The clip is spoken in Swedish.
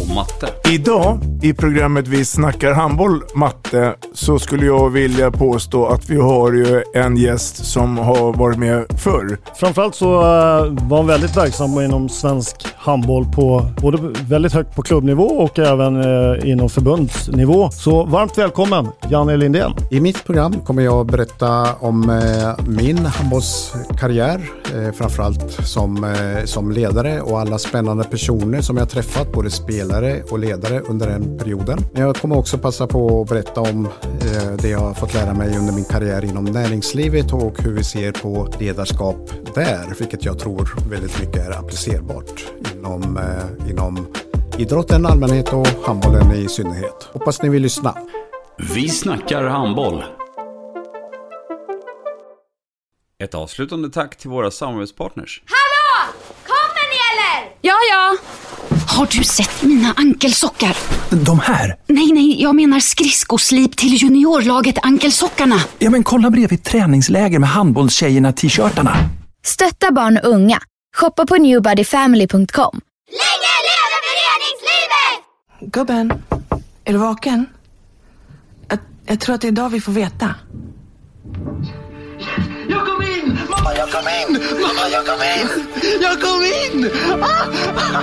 och Matte. Idag i programmet Vi snackar handboll, Matte, så skulle jag vilja påstå att vi har ju en gäst som har varit med förr. Framförallt så eh, var han väldigt verksam inom svensk handboll på både väldigt högt på klubbnivå och även eh, inom förbundsnivå. Så varmt välkommen Janne Lindén. I mitt program kommer jag att berätta om eh, min handbollskarriär, eh, framförallt som, eh, som ledare och alla spännande personer som jag träffat, både spelare och ledare under den perioden. Men jag kommer också passa på att berätta om eh, det jag har fått lära mig under min karriär inom näringslivet och hur vi ser på ledarskap där, vilket jag tror väldigt mycket är applicerbart inom, eh, inom idrotten i allmänhet och handbollen i synnerhet. Hoppas ni vill lyssna. Vi snackar handboll. Ett avslutande tack till våra samarbetspartners. Hallå! Kommer ni eller? Ja, ja. Har du sett mina ankelsockar? De här? Nej, nej, jag menar skridskoslip till juniorlaget Ankelsockarna. Ja, men kolla bredvid träningsläger med handbollstjejerna-t-shirtarna. Stötta barn och unga. Shoppa på newbodyfamily.com. Länge leve föreningslivet! Gubben, är du vaken? Jag, jag tror att det är idag vi får veta. Jag kom in! Mamma, jag kom in! Mamma, jag kom in! Jag kom in! Ah!